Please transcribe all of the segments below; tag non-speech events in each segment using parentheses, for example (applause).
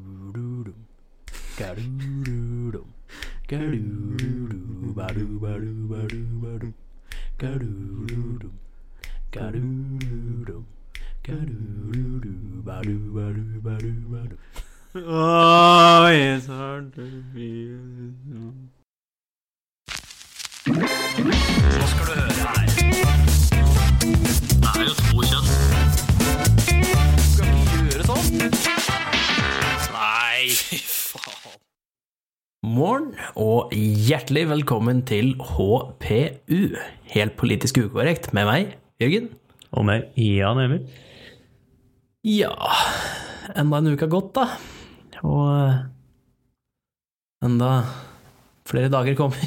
Garurudum. Garurudum. Garurudu, badu, badu, badu, badu. Garurudum. Garurudum. Garurudu, badu, badu, badu, badu. Oh, it's hard to be Morgen og hjertelig velkommen til HPU, helt politisk ukorrekt, med meg, Jørgen. Og meg, Jan Emil. Ja, enda en uke har gått, da. Og eh, enda flere dager (laughs) kommer.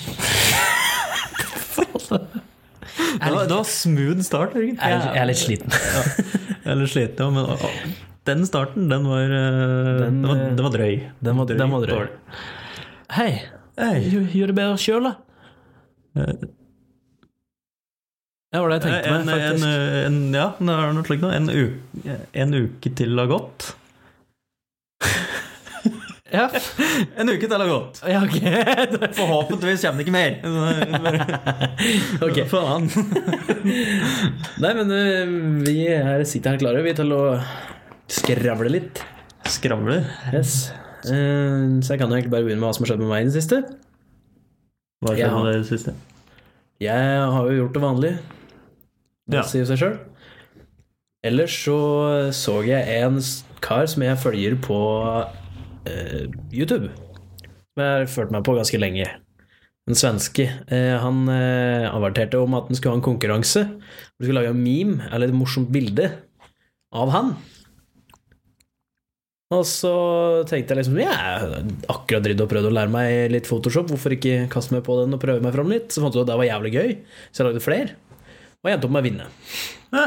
Det var, det var smooth start, Jørgen. Jeg er, jeg er litt sliten. Jeg er litt sliten, ja, men å, å, den starten, den var, eh, Den, den, var, eh, den var drøy. Den må, den må dra. Dårlig. Hei, Hei. gjør gjør det bedre sjøl, da. Eh, Det var det jeg tenkte Eh, En, meg, en, faktisk. en, ja, det er noe slikt nå. En, u- en uke til har gått. Ja, (laughs) En uke til har gått! ja ok. Forhåpentligvis kommer det ikke (laughs) mer. (laughs) Ok. Faen. (laughs) Nei, men eh, vi her sitter her klare, vi, til å skravle litt. Skravler. Yes. Eh, Så jeg kan jo egentlig bare begynne med hva som har skjedd med meg i det siste. Hva skjedde Ja. med det siste? Jeg har jo gjort det vanlige. Det Ja. sier seg sjøl. Ellers så så jeg en s- kar som jeg følger på eh, YouTube. Som jeg har følt meg på ganske lenge. En svenske. Eh, han eh, averterte om at han skulle ha en konkurranse. Hvor de skulle lage en meme, eller et morsomt bilde, av han. Og så tenkte jeg liksom Jeg har akkurat dridd og prøvd å lære meg litt Photoshop. Hvorfor ikke kaste meg på den og prøve meg fram litt? Så fant jeg ut at det var jævlig gøy, så jeg lagde flere. Og jeg endte opp med å vinne. Ja.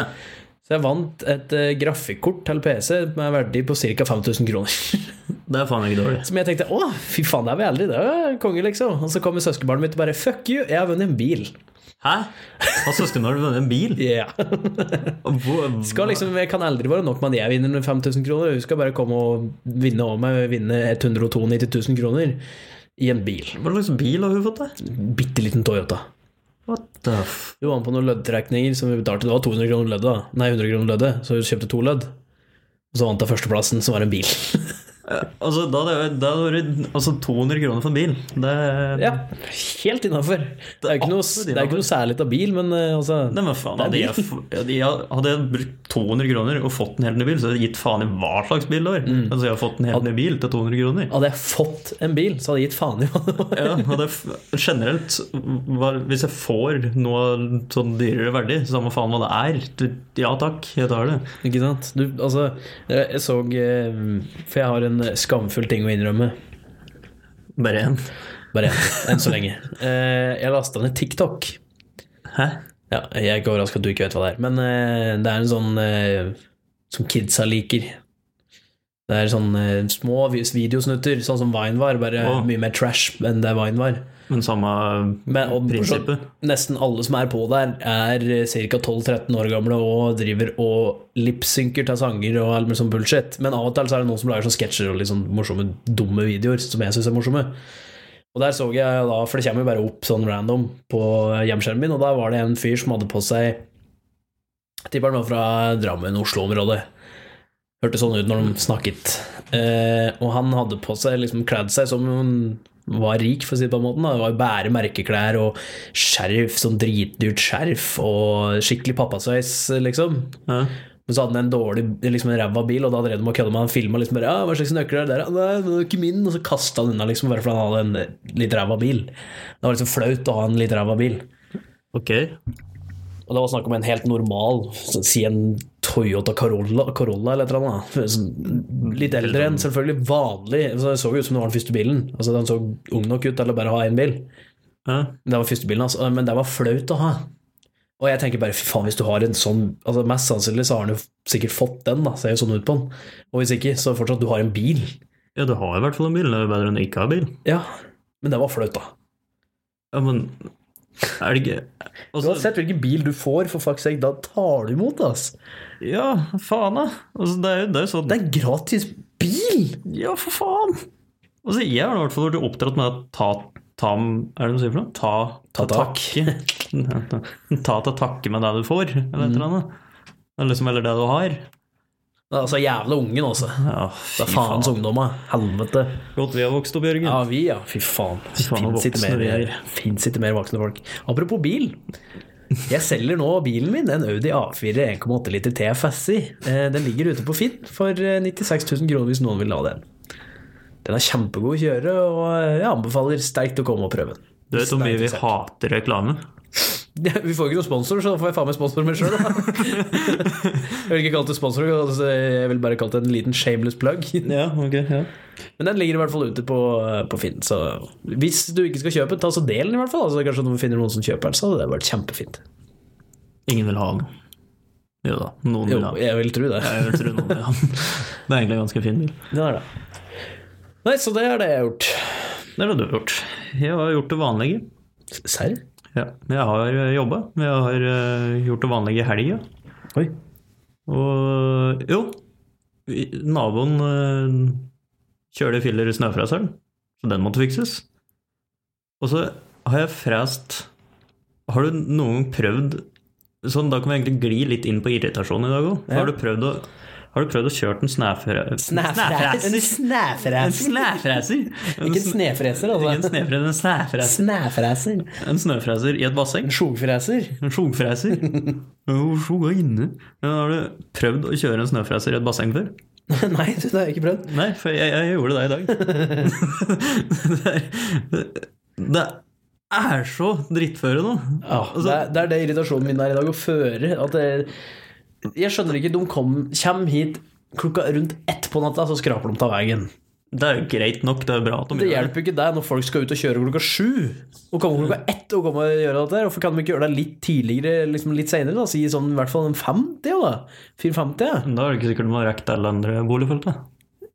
Så jeg vant et eh, grafikkort til PC med verdi på ca. 5000 kroner. (laughs) Det er faen ikke dårlig. Som jeg tenkte å, fy faen, det er veldig, det er konge, liksom. Og så kommer søskenbarnet mitt og bare fuck you, jeg har vunnet en bil. (laughs) Hæ? Har søskenbarnet vunnet en bil? Ja. Hvor, Skal liksom, jeg kan aldri være nok med at jeg vinner med 5000 kroner. Hun skal bare komme og vinne over meg, vinne 192 000 kroner i en bil. hva slags bil har hun fått, da? Bitte liten Toyota. What the f... Hun var med på noen løddtrekninger som vi betalte. Det var 200 kroner løddet, da. Nei, 100 kroner løddet, så hun kjøpte to lødd. Og så vant hun førsteplassen, som var en bil. Altså, da hadde jeg- da hadde det vært altså, 200 kroner for en bil. Det, Ja, helt innafor. Det er jo ikke, noe- absolutt det er ikke noe særlig av bil, men eh, altså Nei, men Det er faen, hadde jeg, bil. f- hadde jeg hadde jeg brukt 200 kroner og fått en helt ny bil, så hadde jeg gitt faen i hva slags bil det var. Mm. Altså, jeg har fått en helt ny bil til 200 kroner. Hadde jeg fått en bil, så hadde jeg gitt faen i hva det var. Ja, og det f generelt hva, Hvis jeg får noe sånn dyrere verdi, samme faen hva det er, du- ja takk, jeg tar det. (laughs) Ikke sant? Du, altså, jeg jeg så eh, For jeg har en skamfull ting å innrømme. Bare én. Bare én, enn så lenge. Eh, Jeg lasta ned TikTok. Hæ? Ja, jeg er ikke overraska at du ikke vet hva det er, men eh, det er en sånn eh, som kidsa liker. Det er sånn eh, små vi- videosnutter, sånn som Vine var, bare Åh. mye mer trash enn det Vine var. Men samme Men, og, Prinsippet. Nesten alle som er på der, er ca. 12-13 år gamle og driver og lipsynker til sanger og all mulig sånn bullshit. Men av og til så er det noen som lager sånne sketsjer og litt sånn morsomme, dumme videoer som jeg syns er morsomme. Og der så jeg da, for det kommer jo bare opp sånn random på hjemskjermen min, og der var det en fyr som hadde på seg jeg Tipper han var fra Drammen-Oslo-området. Hørte sånn ut når de snakket. Eh, og han hadde på seg, liksom kledd seg som om han var rik, for å si det på den måten. Da. Det var jo bare merkeklær og skjerf, sånn dritdyrt skjerf, og skikkelig pappasveis, liksom. Ja. Men så hadde han en dårlig, liksom en ræva bil, og da drev de og kødda med han. Han filma liksom bare ja, 'Hva slags nøkler er det der?' «Ja, 'Nei, det er ikke min.' Og så kasta han unna, liksom, bare fordi han hadde en litt ræva bil. Det var liksom flaut å ha en litt ræva bil. Ok. Og det var snakk om en helt normal, så si en Toyota Corolla, Corolla eller et eller annet. da. Sånn, Litt eldre enn selvfølgelig vanlig. Så det så jo ut som det var den første bilen. Altså Den så ung nok ut til å bare ha én bil. Ja. Det var første bilen hans, altså. men det var flaut å ha. Og jeg tenker bare, fy faen, hvis du har en sånn altså Mest sannsynlig så har han jo sikkert fått den, da, ser jo sånn ut på den. Og hvis ikke, så fortsatt, du har en bil. Ja, du har i hvert fall en bil. Det er jo bedre enn å ikke ha bil. Ja, men det var flaut, da. Ja, men er det ikke altså, Uansett hvilken bil du får, for fuck's sake, da tar du imot, ass. Ja, faen, da. Altså, det er jo det er jo sånn Det er gratis bil! Ja, for faen! Altså, jeg har i hvert fall vært oppdratt med å ta Tam, er det noe du sier for noe? Ta, Ta tak. takke. (laughs) ta til takke med det du får, eller et eller Mm. annet. Eller, liksom, eller det du har. Det er altså jævla ungen, altså. Ja, Det fy er faens ungdomma. Helvete. Godt vi har vokst opp, Jørgen. Ja, vi, ja. Fy faen. Fy faen, Fins ikke, voksne mer- greier. finnes ikke mer voksne folk. Apropos bil. Jeg selger nå bilen min, en Audi A4 1,8 liter TFSI. Eh, Den ligger ute på Finn for eh, 96 000 kroner hvis noen vil ha den. Den er kjempegod å kjøre, og eh, jeg anbefaler sterkt å komme og prøve den. Du vet hvor mye vi hater reklame? Ja, (laughs) Vi får ikke noen sponsor, så da får jeg faen meg sponsor meg (laughs) sjøl, da. Jeg vil ikke kalle det sponsor, altså, jeg vil bare kalle det en liten shameless plug. Ja, ok. Ja. Men den ligger i hvert fall ute på, på Finn, så hvis du ikke skal kjøpe, ta så del den i hvert fall. Altså, kanskje du finner noen som kjøper den, så hadde det vært kjempefint. Ingen vil ha den. Jo da, noen Jo, vil ha den. jeg vil tro det. Jeg vil tro noen vil ha den. (laughs) Det er egentlig en ganske fin bil. Det er det. Nei, så det er det jeg har gjort. Det er det du har gjort. Jeg har gjort det vanlige. Serr? Ja, jeg har jobba. Jeg har eh, gjort det vanlige i helga. Oi. Og jo, vi- naboen eh, kjører filler i snøfreseren, så den måtte fikses. Og så har jeg frest Har du noen gang prøvd Sånn, Da kan vi egentlig gli litt inn på irritasjon i dag òg. Ja. Har du prøvd å har du prøvd å kjøre en snæfre... En (laughs) En snæfreser. snæfreser! En Ikke en sn- snefreser, Ikke en altså. snæfreser, en snæfreser. Snæfreser. En snøfreser i et basseng. En sjogfreser. En sjogfreser. Jo, sjog er inne. Men har du prøvd å kjøre en snøfreser i et basseng før? (laughs) Nei, du, det har jeg ikke prøvd. Nei, for jeg, jeg gjorde det i dag. (laughs) det, er, det er så drittføre nå. Ja, Ah, det, er, det er det irritasjonen min er i dag, å føre at det, Jeg skjønner ikke, de kom, kommer hit klokka rundt ett på natta, så skraper de av veien. Det er jo greit nok, det er bra at de Det gjør det. hjelper ikke deg når folk skal ut og kjøre klokka sju. Og komme klokka ett og komme og gjøre dette. her. Hvorfor kan de ikke gjøre det litt tidligere, liksom litt seinere? da? Si sånn i hvert fall en 50, da. 450. Men Da er det ikke sikkert de har rekt til andre boligfelt. da.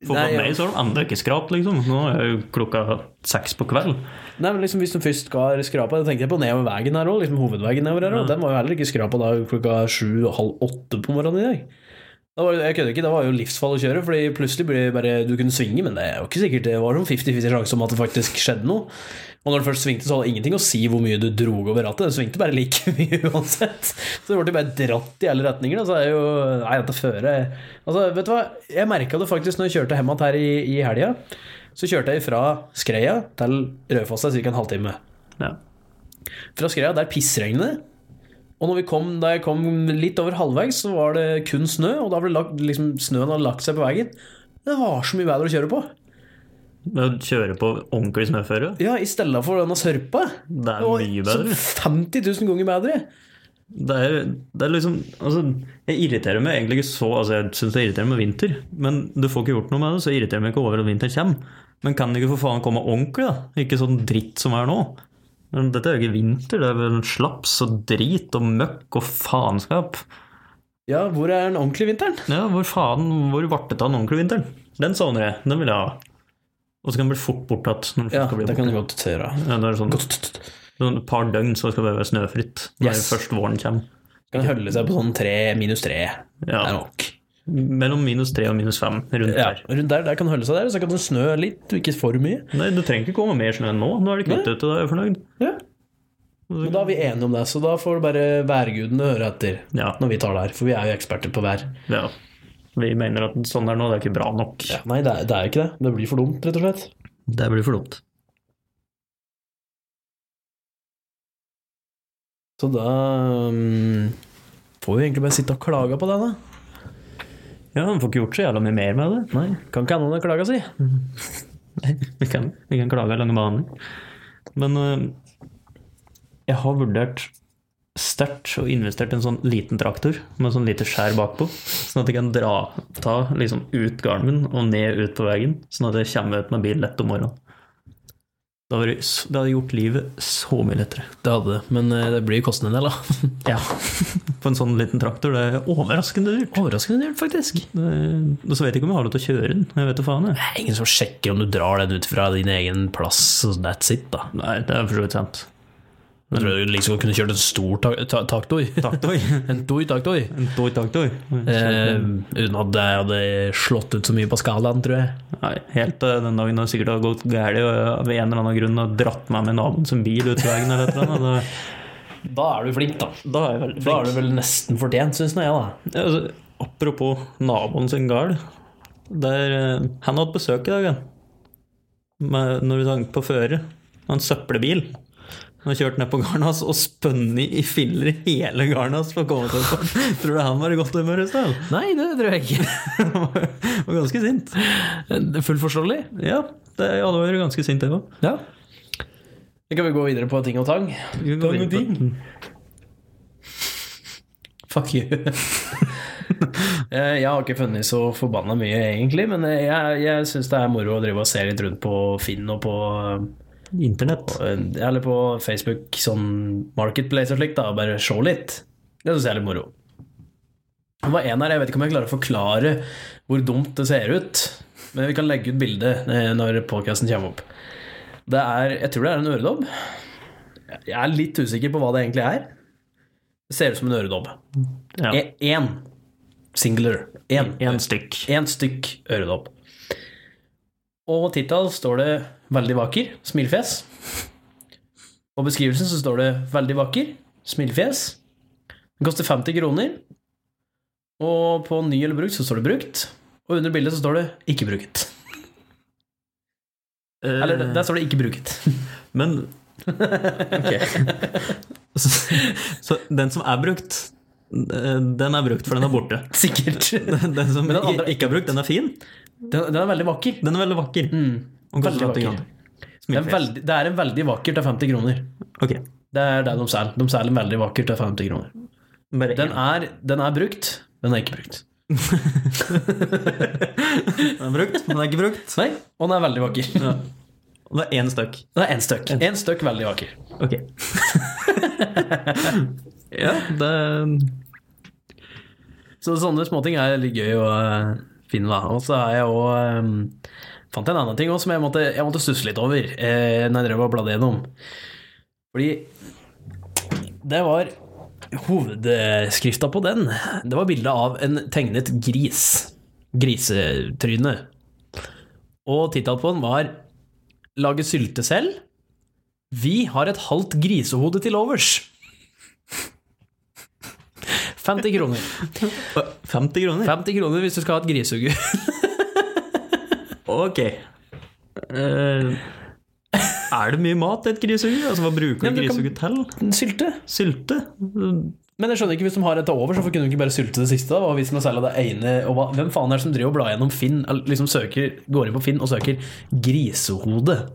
For Nei, på ja. meg så har de enda ikke skrapt, liksom. Nå er jo klokka seks på kveld. Nei, men liksom Hvis de først skal skrape, da tenkte jeg på nedover veien her òg. Liksom hovedveien nedover her også. Den var jo heller ikke skrapa da klokka sju og halv åtte på morgenen i dag. Da var, jeg kødder ikke, det var jo livsfall å kjøre, Fordi plutselig ble det bare du kunne svinge, men det er jo ikke sikkert det var sånn 50-50 sjanse om at det faktisk skjedde noe. Og når du først svingte, så hadde det ingenting å si hvor mye du dro over rattet. Du svingte bare like (laughs) mye uansett. Så det ble bare dratt i alle retninger. Da. Så er jo Nei, dette føret Altså, vet du hva, jeg merka det faktisk når jeg kjørte hjem igjen her i, i helga. Så kjørte jeg fra Skreia til Raufoss, det er ca. en halvtime. Ja. Fra Skreia, der pissregner det. Og når vi kom, da jeg kom litt over halvveis, så var det kun snø, og da ble lagt, liksom, snøen hadde lagt seg på veien. Det var så mye bedre å kjøre på. Men Å kjøre på ordentlig snøføre, Ja, i stedet for denne sørpa. det er Og mye så bedre. 50 000 ganger bedre. Det er, det er liksom altså, Jeg irriterer meg egentlig ikke så altså, Jeg syns jeg irriterer meg vinter, men du får ikke gjort noe med det, så jeg irriterer meg ikke over at vinteren kommer. Men kan det ikke for faen komme ordentlig, da? Ikke sånn dritt som er nå. Men dette er jo ikke vinter, det er vel slaps og drit og møkk og faenskap. Ja, hvor er den ordentlige vinteren? Ja, hvor faen, hvor ble det av den ordentlige vinteren? Den savner jeg, den vil jeg ha. Og så kan den bli fort borte igjen. Ja, Ja, det kan du godt gjøre. ja, det er sånn, Godt. sånn et par døgn så skal det være snøfritt når Yes. først våren kommer. Kan holde seg på sånn tre minus tre. Det er Ja, nok. mellom minus tre og minus fem rundt Ja, der. rundt der, der kan det holde seg der, så kan det snø litt, og ikke for mye. Nei, du trenger ikke komme mer snø enn nå. Nå er det kvitt ute, da er jeg fornøyd. Ja. Men da er vi enige om det, så da får bare værgudene høre etter Ja, når vi tar det her, for vi er jo eksperter på vær. ja. Vi mener at sånn er nå, det er ikke bra nok. Ja, nei, det er, det er ikke det. Det blir for dumt, rett og slett. Det blir for dumt. Så da mm, får vi egentlig bare sitte og klage på det, da. Ja, man får ikke gjort så jævla mye mer med det. Nei, Kan ikke annet enn å klage, si. vi kan, vi kan klage i lange baner. Men øh, jeg har vurdert sterkt og investert i en sånn liten traktor med sånn lite skjær bakpå, sånn at jeg kan dra ta liksom ut garden min og ned ut på veien, sånn at jeg kommer ut med bil lett om morgenen. Det hadde, vært s- det hadde gjort livet så mye lettere. Det hadde det, men eh, det blir kostende en del, da. Ja, (laughs) på en sånn liten traktor. Det er overraskende dyrt. (laughs) Overraskende dyrt, faktisk. Det, og så vet jeg ikke om jeg har lov til å kjøre den. Jeg vet da faen, jeg. Det er ingen som sjekker om du drar den ut fra din egen plass, så that's it, da. Nei, det er for så vidt sant. Jeg tror jeg liksom kunne kjørt en stor ta ta taktoi. Taktoi. (laughs) (laughs) En toi taktoi. En toi taktoi. Eh, uten at jeg hadde slått ut så mye på skalaen, tror jeg. Nei, helt til den dagen det sikkert har gått galt og jeg av en eller annen grunn har dratt meg med naboen som bil ut veien eller et eller annet. Da er du flink, da. Da, da er jeg Da er veldig flink. du vel nesten fortjent, syns nå jeg, da. Ja, Altså, apropos naboen sin gal. Der, eh, han hadde besøk i dag, han. Med, når vi sank på føre. av En søppelbil. Han kjørte ned på garnet hans og spønnet i filler i hele garnet hans. for å komme til den. (laughs) Tror du han var i godt humør i sted? (laughs) Nei, det tror jeg ikke. Han var var ganske sint. Det er Fullt forståelig. Ja, det, jeg hadde vært ganske sint, jeg òg. Ja. Da kan vi gå videre på ting og tang. Tang og ting. Fuck you. (laughs) Eh, jeg har ikke funnet så forbanna mye, egentlig, men eh, jeg, jeg syns det er moro å drive og se litt rundt på Finn og på Internett. eh, Eller på Facebook, sånn Marketplace og slikt, da, og bare se litt. Det syns jeg er litt moro. Det var en her, jeg vet ikke om jeg klarer å forklare hvor dumt det ser ut, men vi kan legge ut bilde eh, når podcasten kommer opp. Det er, jeg tror det er en øredobb. Jeg er litt usikker på hva det egentlig er. Det ser ut som en øredobb. Ja. E- Én. Singular. Én. Én stykk. Én stykk øredobb. Og tittel står det 'veldig vakker', smilfjes. Og beskrivelsen så står det 'veldig vakker', smilfjes. Den koster 50 kroner. Og på ny eller brukt så står det 'brukt'. Og under bildet så står det 'ikke bruket'. Eller der står det 'ikke bruket'. Men Ok. (laughs) Så, så den som er brukt, eh, den er brukt, for den er borte. (laughs) Sikkert. Den som Men den andre er ikke er brukt, den er fin. Den, den er veldig vakker. Den er veldig vakker. Og Mm. koster Veldig 50 vakker. kroner. Det er, veldig, det er en veldig vakker til 50 kroner. Ok. Det er det de selger. De selger en veldig vakker til 50 kroner. Bare Den én. er, den er brukt, den er ikke brukt. Den er brukt, men den er ikke brukt. Nei, og den er veldig vakker. (laughs) Ja. Og det er én stykk. Det er én støkk. Én støkk veldig vakker. (laughs) Ok. ja, det Så sånne småting er litt gøy å eh, finne, da. Og så er jeg òg Fant jeg en annen ting også som jeg måtte, jeg måtte stusse litt over eh, når jeg drev og bladde gjennom. Fordi det var Hovedskrifta på den, det var bilde av en tegnet gris. Grisetryne. Og tittelen på den var 'Lage sylte selv'. Vi har et halvt grisehode til overs. (laughs) 50 kroner. 50 kroner? 50 kroner hvis du skal ha et grisehugge. Ok. Eh, er det mye mat i et grisehugge? Altså, hva bruker Ja, du men du kan- grisehugget til? (laughs) Sylte. Sylte? Men jeg skjønner ikke, hvis de har et over, så kunne de ikke bare sylte det siste? da? Hva hvis de selger det ene, og hva, Hvem faen er det som driver og blar gjennom Finn, eller liksom søker, går inn på Finn og søker 'grisehode'?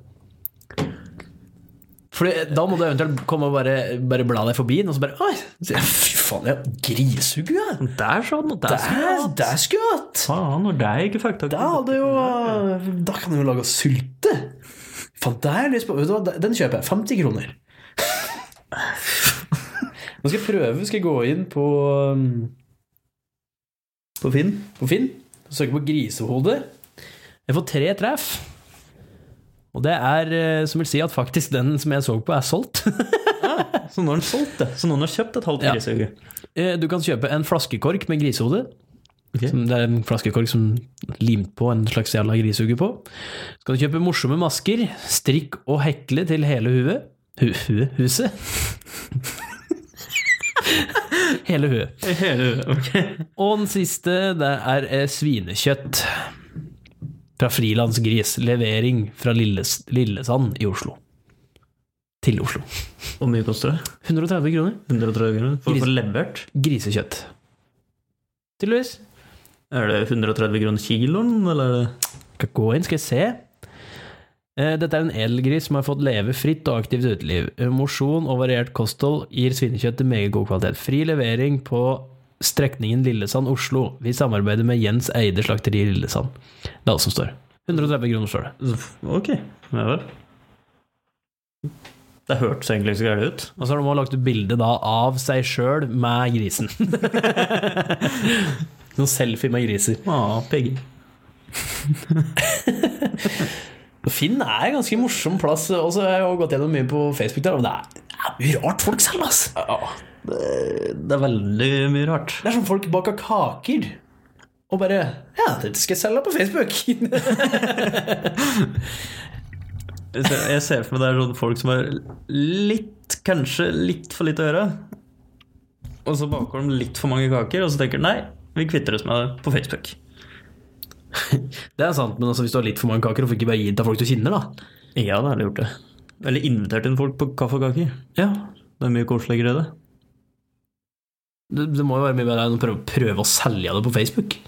For det- da må du eventuelt komme og bare, bare bla deg forbi den, og så bare Oi, fy faen, ja, grishugge, ja! Der sa han at det Der, der skulle jeg hatt! Faen, når det er ikke fakta Da hadde jo Da kan du jo lage sylte! Faen, det har jeg lyst på. Vet du hva, den kjøper jeg. 50 kroner. (laughs) Nå skal jeg prøve. Skal jeg gå inn på um, På Finn? på Finn og søke på grisehode. Jeg får tre treff. Og det er eh, som vil si at faktisk den som jeg så på, er solgt. Så noen har solgt det. Så noen har kjøpt et halvt Ja. grisehugge. Eh, Du kan kjøpe en flaskekork med grisehode. Ok. Som- Det er en flaskekork som limt på en slags jævla grisehugge på. Så kan du kjøpe morsomme masker, strikk og hekle til hele huet. Hu, huet? Huset? (laughs) hele huet. Hele ok. Og den siste, det er eh, svinekjøtt. Fra frilansgris. Levering fra Lilles, Lillesand i Oslo. Til Oslo. Hvor mye koster det? 130 kroner. 130 kroner? For å Gris- få levert? Grisekjøtt. Tydeligvis. Er det 130 kroner kiloen, eller? er det- Skal jeg gå inn, skal jeg se. Eh, Dette er en eldgris som har fått leve fritt og aktivt uteliv. Eh, Mosjon og variert kosthold gir svinekjøttet meget god kvalitet. Fri levering på strekningen Lillesand-Oslo. Vi samarbeider med Jens Eide slakteri i Lillesand. Det er alt som står. 130 kroner står det. Så- Ok, ja vel. Det hørtes egentlig ikke så gærent ut. Og så har de også lagt ut bilde da av seg sjøl med grisen. (laughs) Sånn selfie med griser. Ah, pigg. Finn er en ganske morsom plass. Og så har jeg jo gått gjennom mye på Facebook der, og det er, er mye rart folk selger, ass. Ja, det, det er veldig mye rart. Det er som folk baker kaker. Og bare Ja, dette skal jeg selge på Facebook. (laughs) Jeg ser- Jeg ser for meg det er sånn folk som har litt, kanskje litt for litt å gjøre. Og så baker de litt for mange kaker, og så tenker de nei, vi kvitter oss med det på Facebook. det er sant, men altså, hvis du har litt for mange kaker, hvorfor ikke bare gi det til folk du kjenner, da? Ja, det har de gjort det. Eller invitert inn folk på kaffe og kaker. Ja, Det er mye koseligere, det. Det, det må jo være mye bedre enn å prøve, prøve å selge det på Facebook.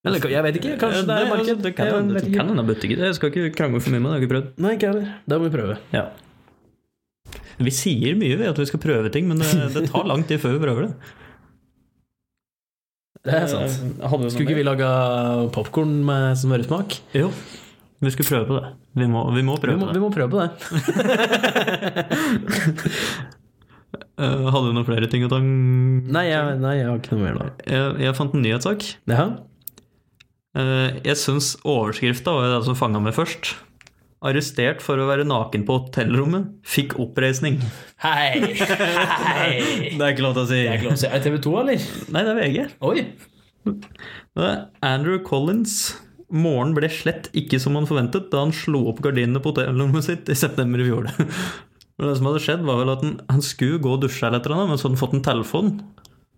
Eller jeg vet ikke, kanskje det er Nei, altså, marked. Det kan hende- det kan hende butikker. Jeg skal ikke krangle for mye med det, jeg har ikke prøvd. Nei, ikke heller. Det må vi prøve. Ja. Vi sier mye ved at vi skal prøve ting, men det, det tar lang tid før vi prøver det. (laughs) Det er sant. Eh, Skulle ikke vi laga popkorn med smøresmak? Jo, vi skulle prøve på det. Vi må, vi må Vi prøve må, på vi det. må prøve på det. Eh, hadde du noen flere ting å ta Jeg, Nei jeg, nei, jeg har ikke noe mer nå. jeg fant en nyhetssak. Jaha? Eh, jeg syns overskrifta var det som fanga meg først. Arrestert for å være naken på hotellrommet. Fikk oppreisning. (laughs) Hei! Hei! Det er ikke lov til å si. Det er ikke lov å si. Er det TV 2, eller? Nei, det er VG. Oi! Det er Andrew Collins. Morgen ble slett ikke som han forventet da han slo opp gardinene på hotellrommet sitt i september i fjor. (laughs) Og det som hadde skjedd, var vel at han, han skulle gå og dusje eller et eller annet, men så hadde han fått en telefon.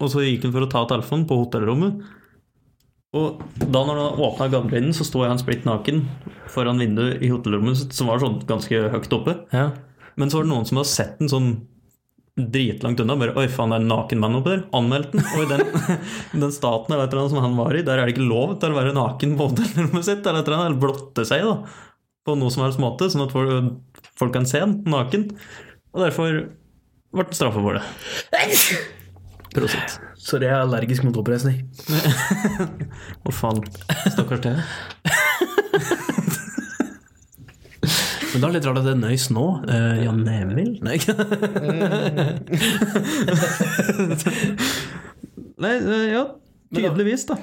Og så gikk han for å ta telefonen på hotellrommet. Og da når han åpna gardinen, så sto han splitt naken foran vinduet i hotellrommet sitt, som var sånn ganske høyt oppe. Ja. Men så var det noen som hadde sett den sånn dritlangt unna. Bare 'oi, faen, det er en naken mann oppe der'. Anmeldte den. Og i den, (laughs) den staten eller et eller annet som han var i, der er det ikke lov til å være naken på hotellrommet sitt eller et eller annet. Eller blotte seg, da. På noe som helst måte, sånn at folk, folk kan se den naken. Og derfor ble den straffa for det. Prosit. Sorry, jeg er allergisk mot oppreisning. Å, faen. Stakkars det. Men da er det litt rart at det er nøys nå. Eh, Jan Emil? Nei, (laughs) ikke Nei, eh, ja. Tydeligvis, da.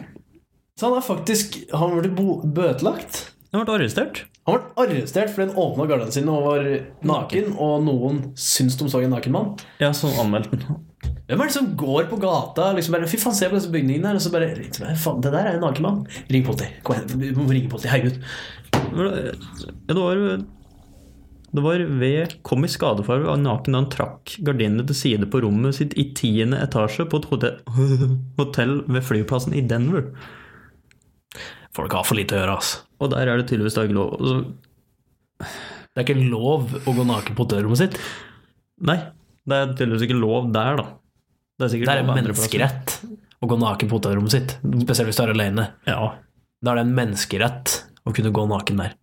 Så han er faktisk Han ble bo- bøtelagt. Han ble arrestert. Han ble arrestert fordi han åpna gardene sine og var naken, og noen syns de så en naken mann. Ja, så anmeldte han. Hvem er det som går på gata liksom bare, Fy faen, se på disse bygningene her. Og så bare liksom, faen, Det der er en naken mann. Ring politiet. Kom igjen, vi må ringe politiet. Herregud. Var det- Ja, det var Det var ved kom i skade for å være naken da han trakk gardinene til side på rommet sitt i tiende etasje på et hotell, (laughs) hotell ved flyplassen i Denver. Folk har for lite å gjøre, altså. Og der er det tydeligvis da ikke lov. Altså, Det er ikke lov å gå naken på hotellrommet sitt. nei, det er tydeligvis ikke lov der, da. Det er sikkert Det er lov en på andre plasser. menneskerett å gå naken på hotellrommet sitt. Spesielt hvis du er alene. Ja. Da er det en menneskerett å kunne gå naken der.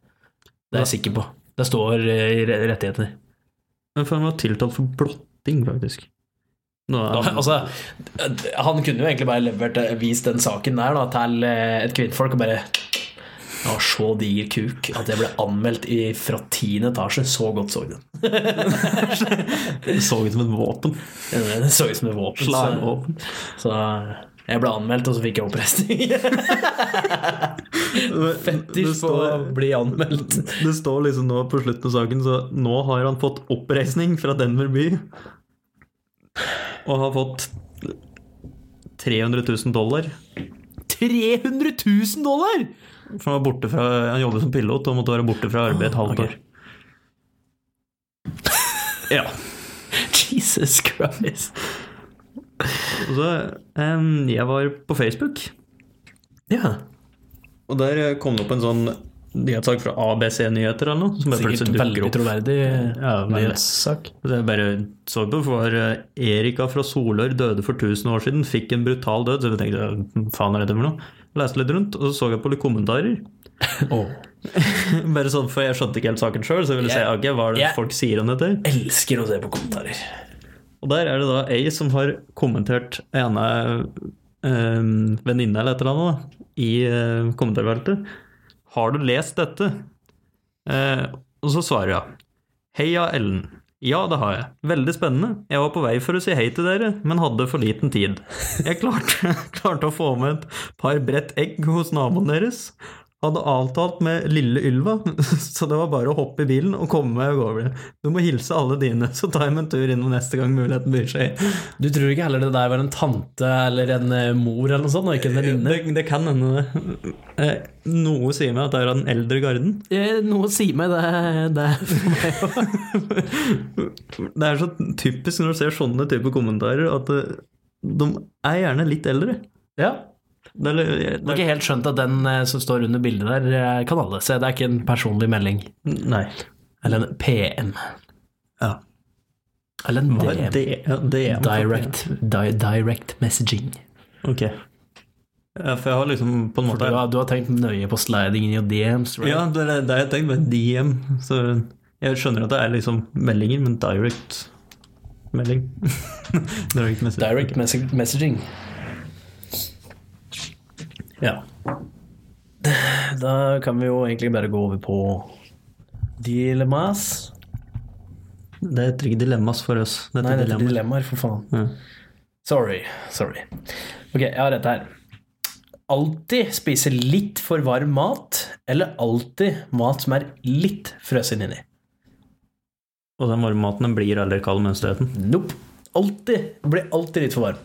Det er jeg sikker på. Det står eh, i re- rettighetene. Men for han var tiltalt for blotting, faktisk. Nå er, Da, (laughs) altså, han kunne jo egentlig bare levert, eh, vist den saken der da, til eh, et kvinnfolk og bare Jeg har så diger kuk at jeg ble anmeldt i, fra tiende etasje. Så godt så den. (laughs) det så ut som et (laughs) våpen. Den så ut som et våpen. Så, Slagvåpen. så eh, jeg ble anmeldt, og så fikk jeg oppreisning. (laughs) Det Fetters på å står- bli anmeldt. Det står liksom nå på slutten av saken, så nå har han fått oppreisning fra Denver by. Og har fått 300 000 dollar. 300 000 dollar! For han, var borte fra, han jobber som pilot og måtte være borte fra arbeid et halvt Ah, ok. år. Ja. (laughs) Jesus Christ. Og så em, Jeg var på Facebook, Ja. og der kom det opp en sånn nyhetssak fra ABC Nyheter eller noe. Som bare Sikkert plutselig dukker veldig opp. troverdig eh, Ja, veldig. nyhetssak. Det jeg bare så på, for eh, Erika fra Solør døde for 1000 år siden, fikk en brutal død. Så jeg tenkte faen er dette for noe? Leste litt rundt, og så så jeg på litt kommentarer. (laughs) Åh. Bare sånn, For jeg skjønte ikke helt saken sjøl, så jeg ville se Jeg- ok, hva er det jeg- folk sier om dette. Elsker å se på kommentarer. Og der er det da ei som har kommentert ene um, venninne eller et eller annet da, i eh, kommentarfeltet. Har du lest dette? Eh, og så svarer hun. Heia Ellen. Ja, det har jeg. Veldig spennende. Jeg var på vei for å si hei til dere, men hadde for liten (laughs) tid. Jeg klarte, klarte å få med et par bredt egg hos naboen deres. hadde avtalt med lille Ylva, (laughs) så det var bare å hoppe i bilen og komme meg av gårde. Du må hilse alle dine, så tar jeg meg en tur innom neste gang muligheten byr seg. Du tror ikke heller det der var en tante eller en eh, mor eller noe sånt, og ikke en venninne? Det, det kan hende det. Eh, Noe sier meg at det er av den eldre garden. Eh, Noe sier meg det, det er for meg òg. Det er så typisk når du ser sånne typer kommentarer, at eh, de er gjerne litt eldre. (laughs) Ja. Det er, Du har det er, ikke helt skjønt at den eh, som står under bildet der, eh, kan alle se. Det er ikke en personlig melding. Nei. Eller en PM. Ja. Eller en DM. Hva er det? Ja, det er- Direct, di direct messaging. Ok. Ja, for jeg har liksom på en Du måte har, du har tenkt nøye på sliding in your DMs, right? Ja, det er det jeg tenkte. Med DM. Så jeg skjønner at det er liksom meldinger, men direct melding. (laughs) direct message. Direct mess- messaging. Ja. Da kan vi jo egentlig bare gå over på dilemmas. Det er ikke dilemmas for oss. Dette Nei, dette er er dilemmaer. dilemmaer, for faen. Ja. Sorry. Sorry. Ok, jeg har dette her. Alltid spise litt for varm mat, eller alltid mat som er litt frøsen inni. Og den varme maten den blir aldri kald mens du spiser den. Nope. Alltid. Det Blir alltid litt for varm.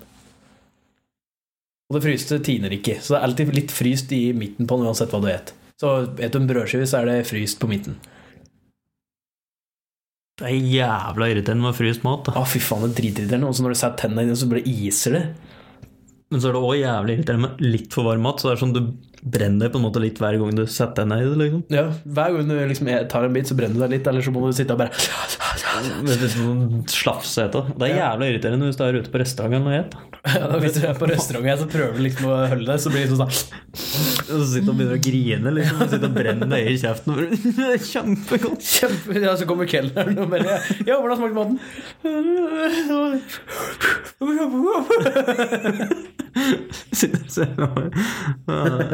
Og det fryste tiner ikke, så det er alltid litt fryst i midten på den uansett hva du et. Så et du en brødskive, så er det fryst på midten. Det er jævla irriterende med fryst mat. da. Å, fy faen, det er dritirriterende. Og så når du setter tennene i det, så bare iser det. Men så er det òg jævlig irriterende med litt for varm mat. Så det er sånn du brenner deg på en måte litt hver gang du setter deg ned i det. liksom. Ja, Hver gang du liksom tar en bit, så brenner du deg litt, eller så må du sitte og bare Vet du, sånn slafsete. Det er jævla irriterende hvis du er ute på restauranten og spiser. Ja, da Hvis du er på restaurant og så prøver du liksom å holde deg, så blir det sånn sånn Og så sitter og begynner å grine, liksom. Og sitter og brenner deg i (laughs) kjeften. Det er Kjempegodt. Kjempe... Ja, så kommer kelneren og bare Ja, hvordan smakte maten? Sitter og ser på meg. Ja.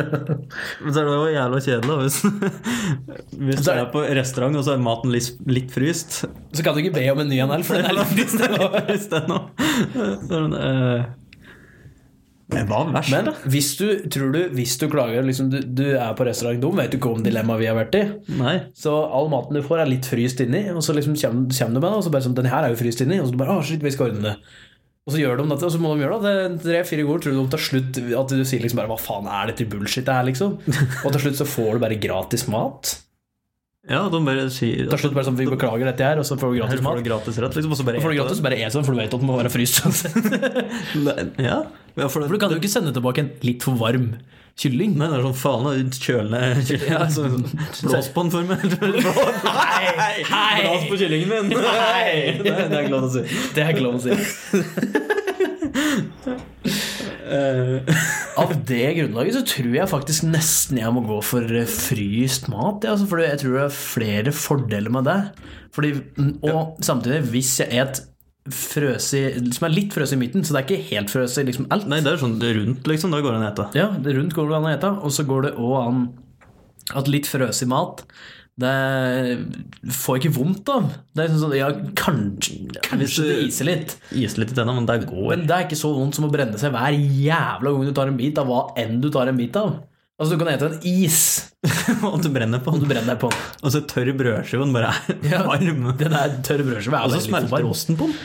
Men så er det jo jævla kjedelig da, hvis, hvis du er på restaurant og så er maten litt, litt fryst. Så kan du ikke be om en ny en her, for den er litt frist. (laughs) Fryst ennå. Så er det, eh, Men hva er verst, Men da? hvis du tror du, hvis du klager liksom, du, du er på restaurant, de vet jo ikke om dilemmaet vi har vært i. Nei. Så all maten du får, er litt fryst inni, og så liksom kommer, kommer du med det, og så bare sånn Den her er jo fryst inni, og så bare Å, shit, vi skal ordne det. Og så gjør de dette, og så må de gjøre det. det. Tre-fire ganger tror du de til slutt at du sier liksom bare Hva faen er dette bullshit det her, liksom? Og til slutt så får du bare gratis mat. Ja, de bare sier Til slutt bare sånn Vi beklager dette her, og så får du Her gratis får mat. du gratis rett, liksom, og så bare Og får du gratis, bare en sånn, for du vet at den må være fryst uansett. gratis? Ja. ja for det, For du kan jo ikke sende tilbake en litt for varm kylling. Nei, det er sånn faen da, (laughs) kjølende kylling. Ja. Så, blås på den for meg. (laughs) Nei! hei. Blås på kyllingen min! Nei. Det, det er glad å si. Det er ikke lov å si. Eh, Av det grunnlaget så tror jeg faktisk nesten jeg må gå for eh, fryst mat. Ja, altså, for jeg tror det er flere fordeler med det. Fordi, mm, og samtidig, hvis jeg et frøse som er litt frøse i midten, så det er ikke helt frøse i liksom alt nei, det er sånn rundt, liksom. Da går det an å ete. Ja, det rundt går det an å ete, og så går det òg an at litt frøs i mat det får jeg ikke vondt av. Det er sånn, sånn, ja, kanskje, Hvis kanskje du- det iser litt. Is litt i tenna, men det går. Men det er ikke så vondt som å brenne seg hver jævla gang du tar en bit av hva enn du tar en bit av. Altså, du kan ete en is (laughs) Og du brenner på om du den. brenner deg på den. Og så tørr brødskiven bare er Ja. varm. Den der tørre brødskiva er Og jo så litt for smelter varm. osten på den.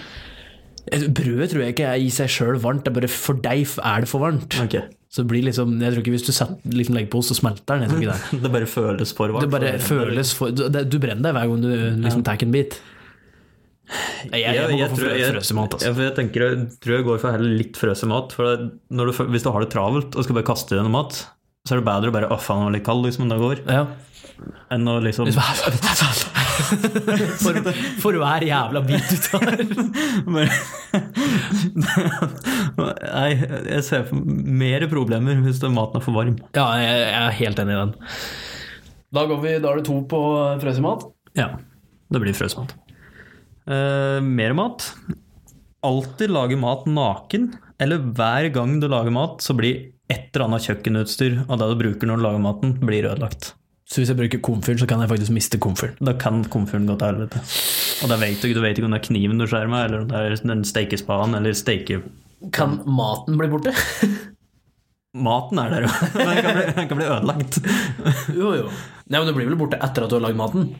Brødet tror jeg ikke er i seg sjøl varmt, det er bare for deg er det for varmt. Ok. Så det blir liksom, jeg tror ikke Hvis du setter, liksom legger på ost, så smelter den. Jeg tror ikke (laughs) det. Det bare føles for varmt. Det bare føles for, du, det- du brenner deg hver gang du liksom tar en bit. Nei, Jeg, jeg, Jeg, må jeg, gå for tror, jeg, frø- frøsemat, altså. jeg, jeg tenker jeg tror jeg går for heller litt frøs i mat. For det, når du, hvis du har det travelt og skal bare kaste i deg noe mat, så er det bedre å bare Å, faen, den var litt kald, liksom. men Det går. Ja. (laughs) Enn å liksom (laughs) For, for hver jævla bit du tar. Men- (laughs) Nei, jeg ser for mer problemer hvis den maten er for varm. Ja, jeg, jeg er helt enig i den. Da, går vi, da er det to på frøsemat. Ja, det blir frøsmat. Eh, mer mat. Alltid lage mat naken, eller hver gang du lager mat, så blir et eller annet kjøkkenutstyr av det du bruker når du lager maten, blir ødelagt. Så hvis jeg bruker komfyren, så kan jeg faktisk miste komfyren. Da kan komfyren gå til helvete. Og det vet du ikke, du vet ikke om det er kniven du skjærer med, eller om det er den stekespaden, eller steke... Kan maten bli borte? Maten er der jo, men (laughs) den kan bli, den kan bli ødelagt. (laughs) Jo, jo. Nei, men det blir vel borte etter at du har lagd maten?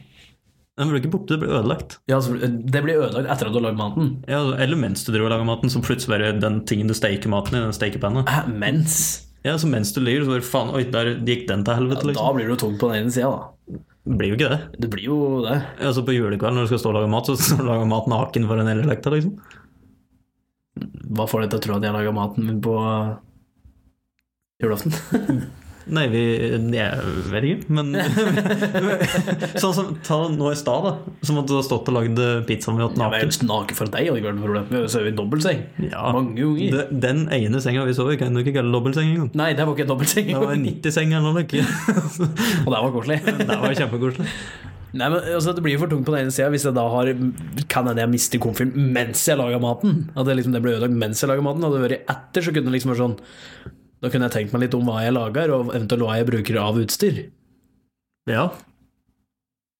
Den blir ikke borte, det blir ødelagt. Ja, altså, det blir ødelagt etter at du har lagd maten. Ja, eller mens du driver og lager maten, så plutselig bare den tingen du steker maten i, den stekepanna. Hæ, mens? Ja, så mens du ligger, så bare faen, oi, der gikk den til helvete, Da liksom. blir du tung på den ene sida, da. Det blir jo ikke det. Det blir jo det. Altså På julekvelden når du skal stå og lage mat, så står du og lager mat naken foran hele slekta, liksom. Hva får deg til å tro at jeg laga maten min på julaften? (laughs) Nei, vi Jeg vet ikke, men (laughs) Sånn som ta nå i stad, da. Som at du har stått og lagd pizzaen vi åt Jeg er naken. helt naken for deg, hadde ikke vært noe problem. Vi sover i dobbeltseng. Ja. Mange unger. Det- Den ene senga vi sov i, kan du ikke kalle dobbeltseng engang. Nei, det var ikke en dobbeltseng. Det var en 90-seng eller noe. (laughs) Det (laughs) Og det var koselig. var kjempekoselig. Nei, men altså, Det blir jo for tungt på den ene sida hvis jeg da har Kan hende jeg mister komfyren mens jeg lager maten. At det, liksom, det ble ødelagt mens jeg lager maten. Hadde det vært etter, så kunne det liksom vært sånn Da kunne jeg tenkt meg litt om hva jeg lager, og eventuelt hva jeg bruker av utstyr. Ja.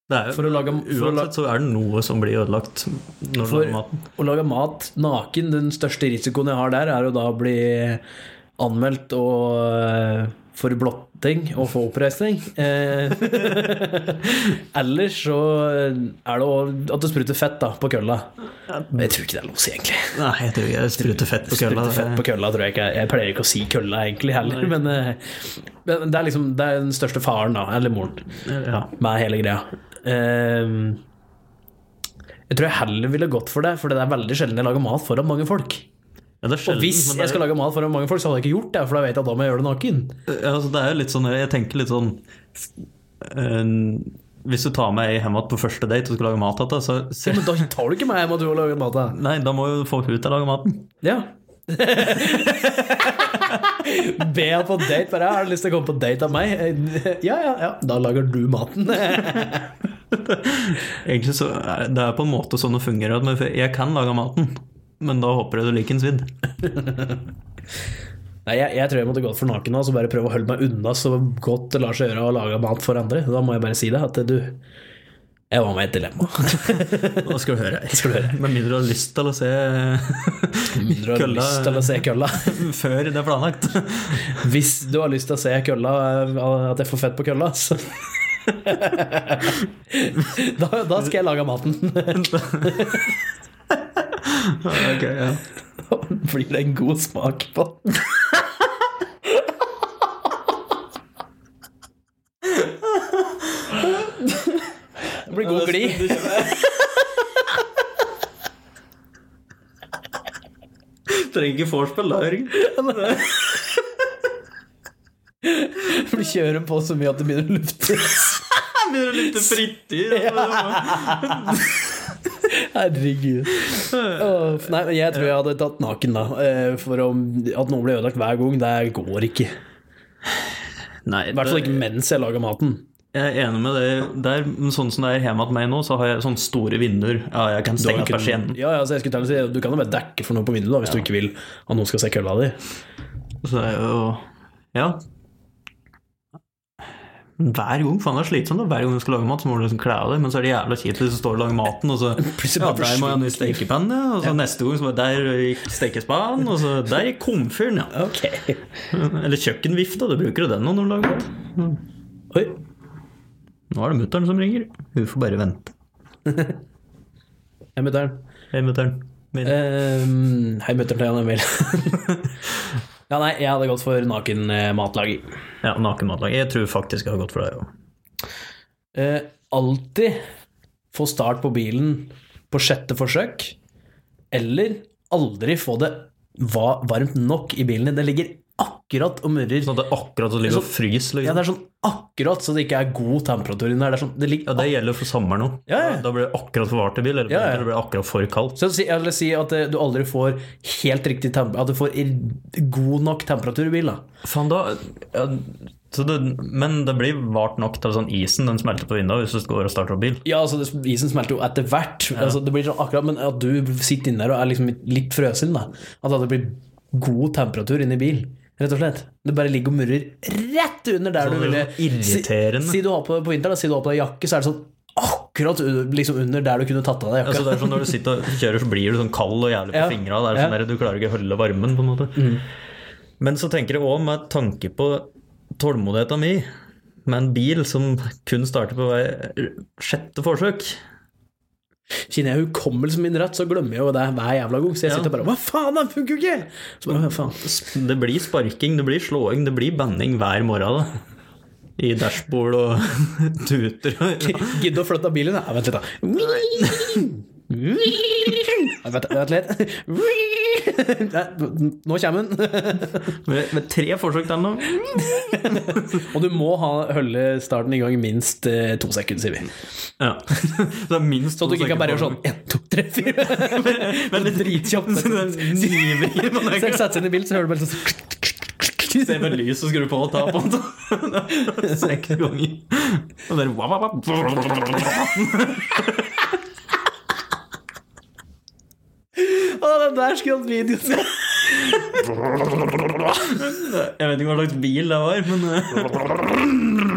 Det er jo For å lage, for å la, Uansett så er det noe som blir ødelagt når du For- lager maten. å lage mat naken, den største risikoen jeg har der, er å da bli anmeldt og eh, for blotting og få oppreisning. Eh, (laughs) Ellers så er det å- at det spruter fett da, på kølla. Men Jeg tror ikke det er lov å si, egentlig. Nei, jeg tror ikke det spruter fett på kølla. Sprute fett på kølla tror jeg ikke Jeg pleier ikke å si kølla egentlig heller, men, eh, men det er liksom det er den største faren, da, eller moren, Ja. med hele greia. Ehm, jeg tror jeg heller ville gått for det, for det er veldig sjelden jeg lager mat foran mange folk. Ja, det er sjelden, Og hvis men det er- jeg skal lage mat foran mange folk, så hadde jeg ikke gjort det, for da vet jeg at da må jeg gjøre det naken. Ja, altså det er jo litt sånn Jeg tenker litt sånn eh, Hvis du tar meg hjem igjen på første date og skal lage mat til deg, så Ja, se, Men da tar du ikke meg hjem og du har laget mat. da. Nei, da må jo få hun til å lage maten. Ja. (laughs) Be han på date, bare. Har du lyst til å komme på date av meg? (laughs) Ja, ja, ja. Da lager du maten. (laughs) Egentlig så er Det er på en måte sånn det fungerer. at man- Jeg kan lage maten, men da håper jeg du liker den svidd. Nei, jeg, jeg tror jeg måtte gått for naken og så bare prøve å holde meg unna så godt det lar seg gjøre å lage mat for andre. Da må jeg bare si det, at du Jeg var med i et dilemma. (laughs) Da skal du høre. Skal du høre. Med mindre du har lyst til å se (laughs) Mindre du har Kølla- lyst til å se kølla. før det er planlagt. Hvis du har lyst til å se kølla, eh, at jeg får fett på kølla, så da, da skal jeg lage maten. (laughs) (laughs) Ok, ja. Da blir det en god smak på den. Det blir god glid. (laughs) Trenger ikke vorspiel, da, Jørgen. For du kjører på så mye at det begynner å lufte. Begynner å lukte frityr. Herregud. Åh, nei, men jeg tror jeg hadde tatt naken, da. Eh, For om, at noe blir ødelagt hver gang, det går ikke. Nei, I hvert fall ikke mens jeg lager maten. Jeg er enig med det der, men sånn som det er hjemme hos meg nå, så har jeg sånne store vinduer. Ja, jeg kan stenge Kun- persiennen. Ja, ja, så jeg skulle til å si, du kan jo bare dekke for noe på vinduet da, hvis du ikke vil at noen skal se kølla di. Så det er jo Ja. Hver gang, faen det er slitsomt. da. Hver gang du skal lage mat, så må du liksom kle av deg, men så er det jævla kjipt hvis du står og lager maten, og så (laughs) Plutselig Ja, bare der må jeg ha ny stekepanne, ja, og så neste gang så bare Der gikk stekespanen, og så Der gikk komfyren, ja. Ok. Eller kjøkkenvifta, du bruker jo den nå når du lager mat. (laughs) Oi. Nå er det mutter'n som ringer. Hun får bare vente. Jeg møter den. Hei, mutter'n. Min. Ehm, Hei, mutter'n til Jan Emil. (laughs) ja, nei, jeg hadde gått for naken eh, matlaging. Ja, nakenmatlag. Jeg tror faktisk jeg har gått for deg òg. Eh, alltid få start på bilen på sjette forsøk, eller aldri få det va varmt nok i bilen din. Det ligger akkurat og murrer. Sånn at det er akkurat så ligger og fryser. Ja, Liksom. det er sånn akkurat så det ikke er god temperatur inni der. Det er sånn, det ligger Ja, det gjelder for sommeren òg. Ja, ja. Da blir det akkurat for varmt i bil, eller Ja, ja. det blir akkurat for kaldt. Så si, eller si at eh, du aldri får helt riktig temp At du får i- god nok temperatur i bilen. da. Faen, Sånn da ja, så det, Men det blir vart nok til sånn isen den smelter på vinduet hvis du går og starter opp bil. Ja, altså det, Isen smelter jo etter hvert, altså, det blir sånn akkurat, men at du sitter inne der og er liksom litt frøsen. da At det blir god temperatur inni bil, rett og slett. Det bare ligger og murrer rett under der Så du det ville er Sånn irriterende. Si, si du har på på vinteren, da, si du har på deg jakke, så er det sånn akkurat u- liksom under der du kunne tatt av deg Altså, jakka. det er sånn Når du sitter og kjører, så blir du sånn kald og jævlig på Ja. fingra. Det er sånn Ja. Mm. der, du klarer ikke å holde varmen, på en måte. Men så tenker jeg òg med tanke på tålmodigheten min med en bil som kun starter på hver sjette forsøk. Kjenner jeg hukommelsen min rett, så glemmer jeg jo det hver jævla gang. Så jeg Ja. sitter bare Hva faen, den funker jo ikke! Så bare, hva faen. Det blir sparking, det blir slåing, det blir banning hver morgen. da. I dashbord og (laughs) tuter. (laughs) Gidde å flytte bilen? Nei, vent litt, da. Vent, vent litt. Nei, Nå kommer den. Med, med tre forsøk til nå. Og du må ha holde starten i gang i minst eh, to sekunder, sier vi. Ja. (laughs) Så det er minst Så at du ikke to kan bare gjøre sånn sekunder én, to, tre, fire. Men litt dritkjapt. (laughs) Så det er (laughs) nivrig, man Så er jeg ikke- setter inn i bilen, så hører du bare sånn Se med lys og skru på og ta (laughs) på den. Seks ganger. Og bare wap, wap, wap. Å, den der skulle hatt video! (laughs) Jeg vet ikke hva slags bil det var, (laughs) men eh,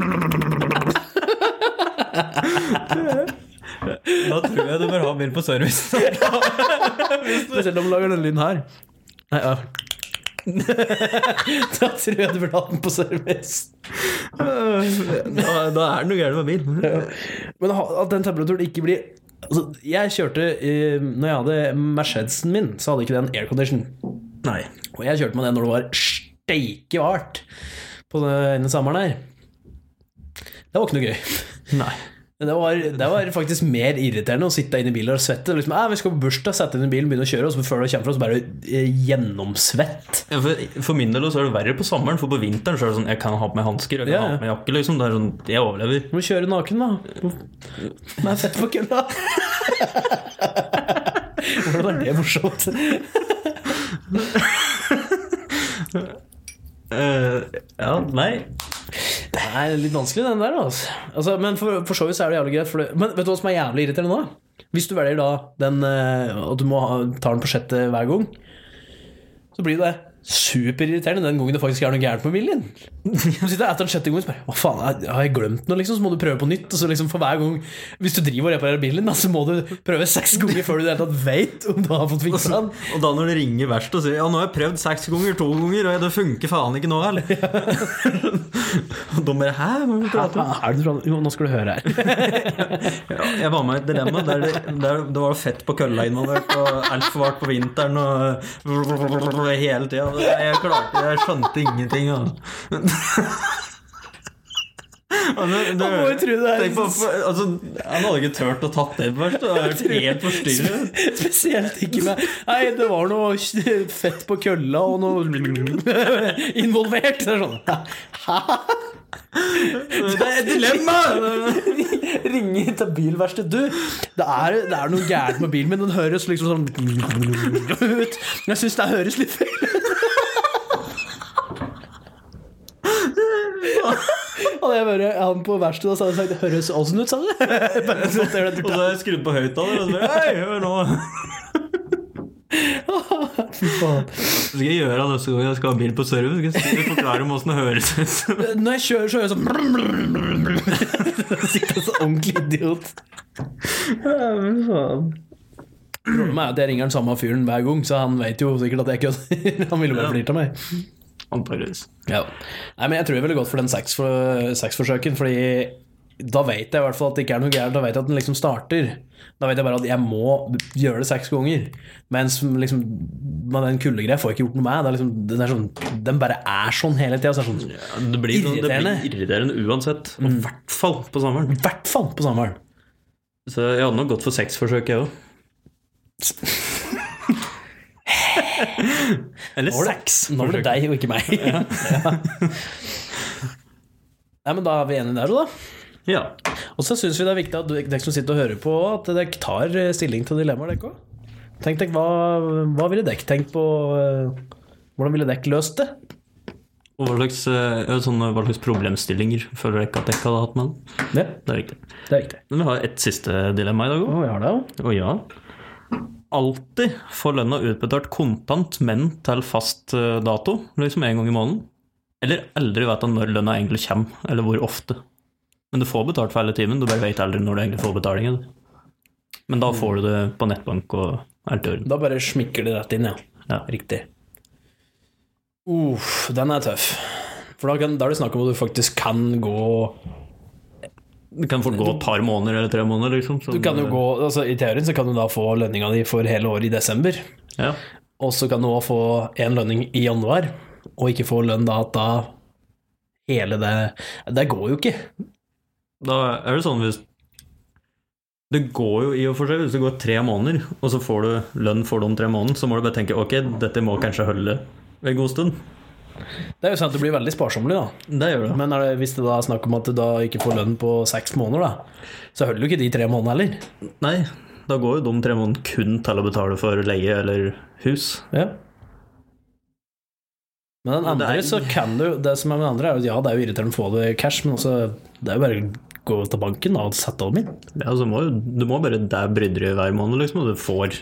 Da tror jeg du bør ha bil på (laughs) service. Spesielt om du lager den lyden her. Nei, ja. (laughs) da tror jeg du burde hatt den på service. Da, da er det noe gærent med bil. Men ha- at den temperaturen ikke blir altså, Jeg kjørte eh, Når jeg hadde Mercedesen min, så hadde ikke den aircondition. Nei. Og jeg kjørte med den når det var steike vart på denne sommeren her. Det var ikke noe gøy. (laughs) Nei. Men Det var, det var faktisk mer irriterende å sitte inne i bilen og svette. Liksom, «Ah, vi skal på bursdag, sette inn i bilen, begynne å kjøre, og så før du kommer fra, så bare eh, gjennomsvett. Ja, For, for min del også er det verre på sommeren, for på vinteren så er det sånn Jeg kan ha på meg hansker, jeg kan Ja, ja. ha på meg jakke, liksom. Det er sånn, jeg overlever. Du må kjøre naken, da. Med fett på kølla. (laughs) Hvordan er det morsomt? Eh, ja, nei. Det er litt vanskelig, den der. Altså. Altså, men for, for så vidt så er det jævlig greit. For det, men vet du hva som er jævlig irriterende nå? Hvis du velger da den eh, at du må ha, ta den på sjette hver gang, så blir det superirriterende den gangen det faktisk er noe gærent med bilen din. Du sitter etter den sjette gangen og spør Hva faen, har- har jeg glemt noe, liksom? Så må du prøve på nytt. Og så liksom for hver gang Hvis du driver og reparerer bilen din, da, så må du prøve seks ganger før du i det hele tatt veit om du har fått fiksa (laughs) den. Og da når det ringer verst og sier Ja, nå har jeg prøvd seks ganger, to ganger, og det funker faen ikke nå, (laughs) eller? Og da bare Hæ? Hva vil du prate om? Er det, sånn- jo, nå skal du høre her. Ja, jeg var med i et dilemma der det, der det var fett på kølla involvert, og altfor varmt på vinteren og hele tida. Jeg klarte Jeg skjønte ingenting. Ja. (laughs) Han, Altså, det, Man må jo tro det er- tenk på, altså, han hadde ikke turt å tatt det først. Det hadde vært helt (laughs) forstyrret. (laughs) Spesielt ikke med Nei, det var noe (laughs) fett på kølla og noe (laughs) involvert. Det er sånn Hæ? Det er et dilemma! (laughs) Ringe til bilverkstedet. Du, det er, det er noe gærent med bilen min. Den høres liksom sånn ut. Jeg syns det høres litt feil ut. Hadde jeg vært han på verkstedet, så hadde jeg sagt 'høres åssen ut', sa du? (laughs) Bare sånn, det er det. Og så har jeg skrudd på høyttaler og så bare, Hei, hør nå! Fy faen. Så skal jeg gjøre det neste gang jeg skal ha bil på service. Skal jeg si- forklare om åssen det høres (laughs) ut. Når jeg kjører, så gjør jeg (laughs) sånn Sitter som ordentlig idiot. Problemet er at jeg ringer den samme fyren hver gang, så han vet jo sikkert at jeg kødder. (laughs) Han ville bare flirte av meg. Antakeligvis. Ja. Nei, men jeg tror jeg ville gått for den seks for- seksforsøken, fordi da vet jeg i hvert fall at det ikke er noe gærent. Da vet jeg at den liksom starter. Da vet jeg bare at jeg må gjøre det seks ganger. Mens liksom, med den kuldegreia får jeg ikke gjort noe med. Det er liksom, den, er sånn, den bare er sånn hele tida. Så er det sånn, Ja, Det blir, sånn- Irriterende. det blir irriterende uansett, og i hvert fall på sommeren. I hvert fall på sommeren. Så jeg hadde nok gått for seks forsøk, jeg òg. Eller Nå var det- seks. Nå var det deg og ikke meg. (laughs) Ja. Nei, men Da er vi enige der, da. Ja. Og så syns vi det er viktig at du- dere som sitter og hører på, at dere tar eh, stilling til dilemmaer, dere òg. Tenk dere, hva, hva ville dere tenkt på? eh, Hvordan ville dere løst det? Og hva slags, eh, ja, sånn, hva slags problemstillinger føler dere ikke at dere hadde hatt med den? Ja, Det er riktig. det er viktig. Men vi har et siste dilemma i dag òg. Å, vi har det jo. Og ja. Alltid få lønna utbetalt kontant, men til fast eh, dato, liksom en gang i måneden. Eller aldri vite når lønna egentlig kommer, eller hvor ofte. Men du får betalt for hele timen, du bare vet aldri når du egentlig får betalingen. Men da får du det på nettbank og alt i orden. Da bare smikker de rett inn, ja. Ja. Riktig. Uff, den er tøff. For da, kan, da er det snakk om at du faktisk kan gå Det kan fort gå et par måneder eller tre måneder, liksom. så- Du kan jo gå, altså I teorien så kan du da få lønninga di for hele året i desember. Ja. Og så kan du òg få én lønning i januar, og ikke få lønn da, da hele det Det går jo ikke. Da er det sånn hvis Det går jo i og for seg hvis det går tre måneder, og så får du lønn for de tre månedene, så må du bare tenke ok, dette må kanskje holde en god stund. Det er jo sant at du blir veldig sparsommelig, da. Det gjør det. Men er det, hvis det da er snakk om at du da ikke får lønn på seks måneder, da, så holder jo ikke de tre månedene heller. Nei, da går jo de tre månedene kun til å betale for leie eller hus. Ja. Men den Men det andre er- så kan du Det som er med den andre, er jo ja, det er jo irriterende å få det i cash, men også Det er jo bare å gå til banken da, og sette om inn. Ja, så må jo, du må bare der bryderiet hver måned, liksom, og du får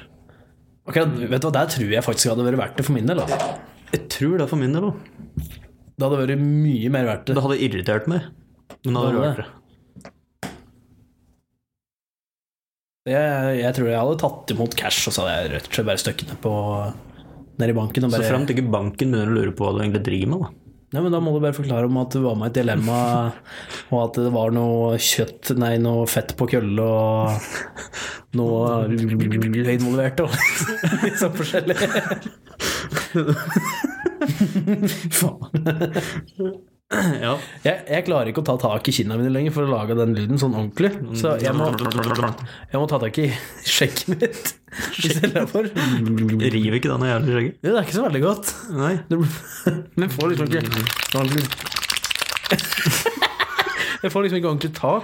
Ok, vet du hva, Der tror jeg faktisk det hadde vært verdt det for min del. Da. Jeg tror det er for min del òg. Det hadde vært mye mer verdt det. Det hadde irritert meg, men det Det hadde hadde vært det. Jeg, jeg tror jeg hadde tatt imot cash, og så hadde jeg rett og slett bare støkket ned på nede i banken. Og Så bare, fremt ikke banken begynner å lure på hva du egentlig driver med, da. Nei, men da må du bare forklare om at du var med i et dilemma, og at det var noe kjøtt, nei, noe fett på kølle, og noe (laughs) involvert, og (laughs) litt sånn forskjellig. Faen. Ja. Jeg, jeg klarer ikke å ta tak i kinna mine lenger for å lage den lyden sånn ordentlig, så jeg må, jeg må ta tak i (laughs) skjegget mitt istedenfor. River ikke denne jævla skjegget. Det er ikke så veldig godt. Nei. Det blir- (laughs) Men får liksom ikke (laughs) Jeg får liksom ikke ordentlig tak.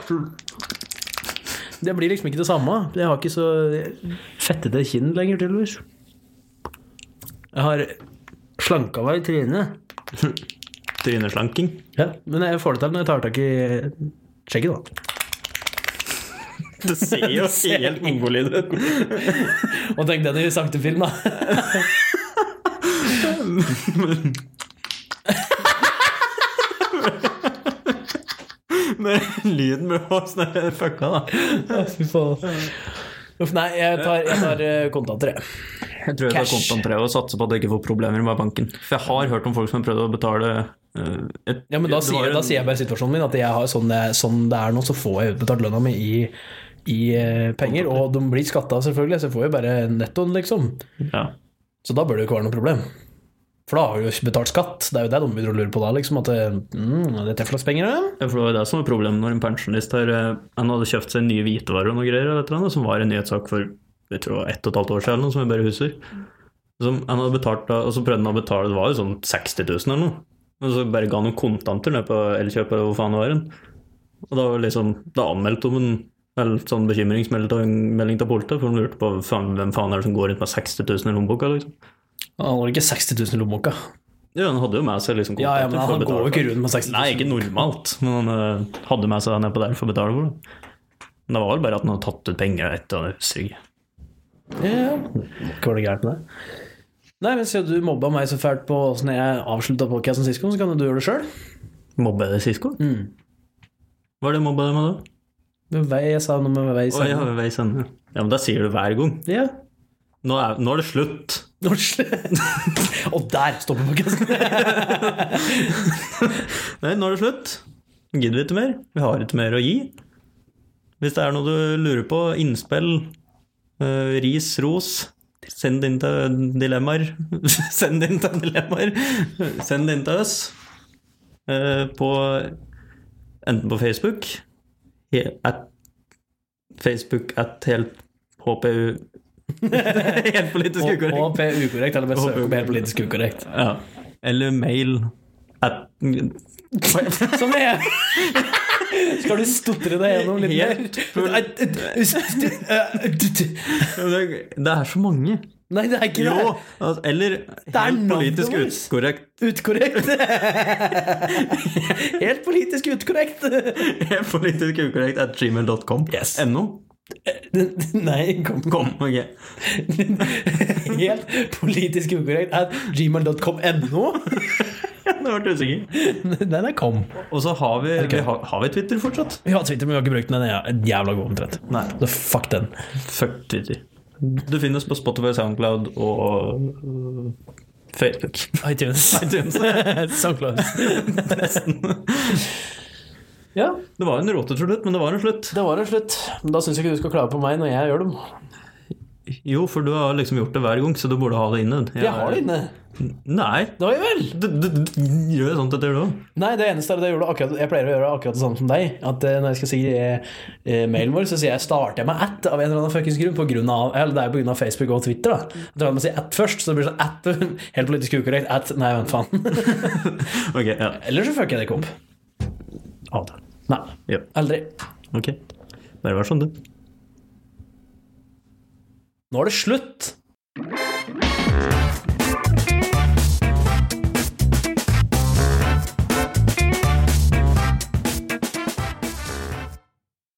Det blir liksom ikke det samme. Jeg har ikke så fettete kinn lenger, tydeligvis. Jeg har slanka meg i trynet. Tryneslanking. Ja, men jeg får det til når jeg tar tak i skjegget, da. Det ser (laughs) jo helt mongolid ut. (laughs) Og tenk den i sakte film, da. Men lyden blir også sånn fucka, da. Fy faen. Uff, nei, jeg tar, jeg tar eh, kontanter, jeg. Jeg tror jeg tar Cash. kontantre og satser på at jeg ikke får problemer med banken. For jeg har hørt om folk som har prøvd å betale eh, et, Ja, men da det sier, var jeg- en- da sier jeg bare situasjonen min, at jeg har sånn, det- sånn det er nå, så får jeg utbetalt lønna mi i, i eh, penger. Og de blir skatta, selvfølgelig, så jeg får jo bare nettoen, liksom. ja. Så da bør det jo ikke være noe problem. For da har du jo ikke betalt skatt. Det er jo det de begynner å lure på da, liksom. At det, mm, dette er for slags penger, det. Ja, for det var jo det som var problemet når en pensjonist her, eh, han hadde kjøpt seg nye hvitevarer og noe greier, eller et eller annet, som var en nyhetssak for jeg tror det var ett og et halvt år siden, eller noe, som jeg bare husker. Som han hadde betalt, da, og så prøvde han å betale, det var jo sånn 60 000 eller noe. Men så bare ga han noen kontanter ned på Elkjøp eller hvor faen det var hen. Og da var liksom, da anmeldte hun en eller sånn bekymringsmelding til politiet, for de lurte på faen, hvem faen er det som går rundt med 60 000 i lommeboka, liksom. Han har ikke 60 000 i lommeboka. Ja, han hadde jo med seg liksom Ja, ja, men kontanter han går jo for å betale for det. ikke rundt med 60 000. Nei, ikke normalt, (laughs) men han eh, hadde med seg den nedpå der for å betale for det. Men det var vel bare at han hadde tatt ut penger etter det husker jeg. Ja, Hva var det gærent med det? Nei, men siden du mobba meg så fælt på åssen jeg avslutta podkasten sist gang, så kan jo du gjøre det sjøl. Mobba jeg deg sist gang? Hva er det jeg mobba deg med da? Jeg sa noe med vei Å, jeg har jo veis ende. Ja, men det sier du hver gang. Ja. Nå er, nå er det slutt. Nå sl- (laughs) Og der stopper (laughs) podkasten! Nei, nå er det slutt. Gidder vi ikke mer? Vi har ikke mer å gi. Hvis det er noe du lurer på, innspill, eh, ris, ros, send det inn til dilemmaer. (laughs) send det inn til dilemmaer. Send det inn til oss. eh, på enten på Facebook he- at Facebook at helt HPU (laughs) Helt politisk Og, ukorrekt. og P ukorrekt, eller bare Og søk P opp helt politisk (laughs) ukorrekt. Ja. Eller mail at Sånn er jeg! Skal du stotre deg gjennom litt Helt mer? Det det er så mange. Nei, det er ikke Jo, det. altså, eller er helt politisk navnet vårt. utkorrekt. (laughs) Utkorrekt. (laughs) Helt politisk utkorrekt. (laughs) Helt politisk ukorrekt at gmail.com. Yes. NO. Nei, kom. Kom, ok. (laughs) Helt politisk ukorrekt at gmail.com.no. Nå ble jeg usikker. (laughs) Den er kom. Og så har vi, vi har, har vi Twitter fortsatt. Vi har Twitter, men vi har ikke brukt den. Den er jævla god, omtrent. Nei. Så fuck den. Fuck Twitter. Du finner oss på Spotify, Soundcloud og øh, (laughs) Facebook. iTunes. iTunes. (laughs) so close. Ja, Det var en rotete slutt, men det var en slutt. det var en slutt. Men da syns jeg ikke du skal klage på meg når jeg gjør dem. Jo, for du har liksom gjort det hver gang, så du burde ha det inne. Jeg, Jeg har det inne. Nei. Det har jeg vel! Du, du, du gjør sånt etter det òg. Nei, det eneste er at jeg, gjorde akkurat, jeg pleier å gjøre akkurat det samme som deg. At eh, Når jeg skal si eh, eh, mailen vår, så sier jeg starter jeg med at av en eller annen fuckings grunn. På grunn av, eller det er jo pga. Facebook og Twitter. da Jeg tror jeg må si at først, så det blir sånn at (laughs) Helt politisk ukorrekt. At, nei, vent faen. (laughs) Ok, ja. Eller så fucker jeg det ikke opp. Adel. Nei. Ja. Aldri. Ok. Bare vær sånn, du. Nå er det slutt!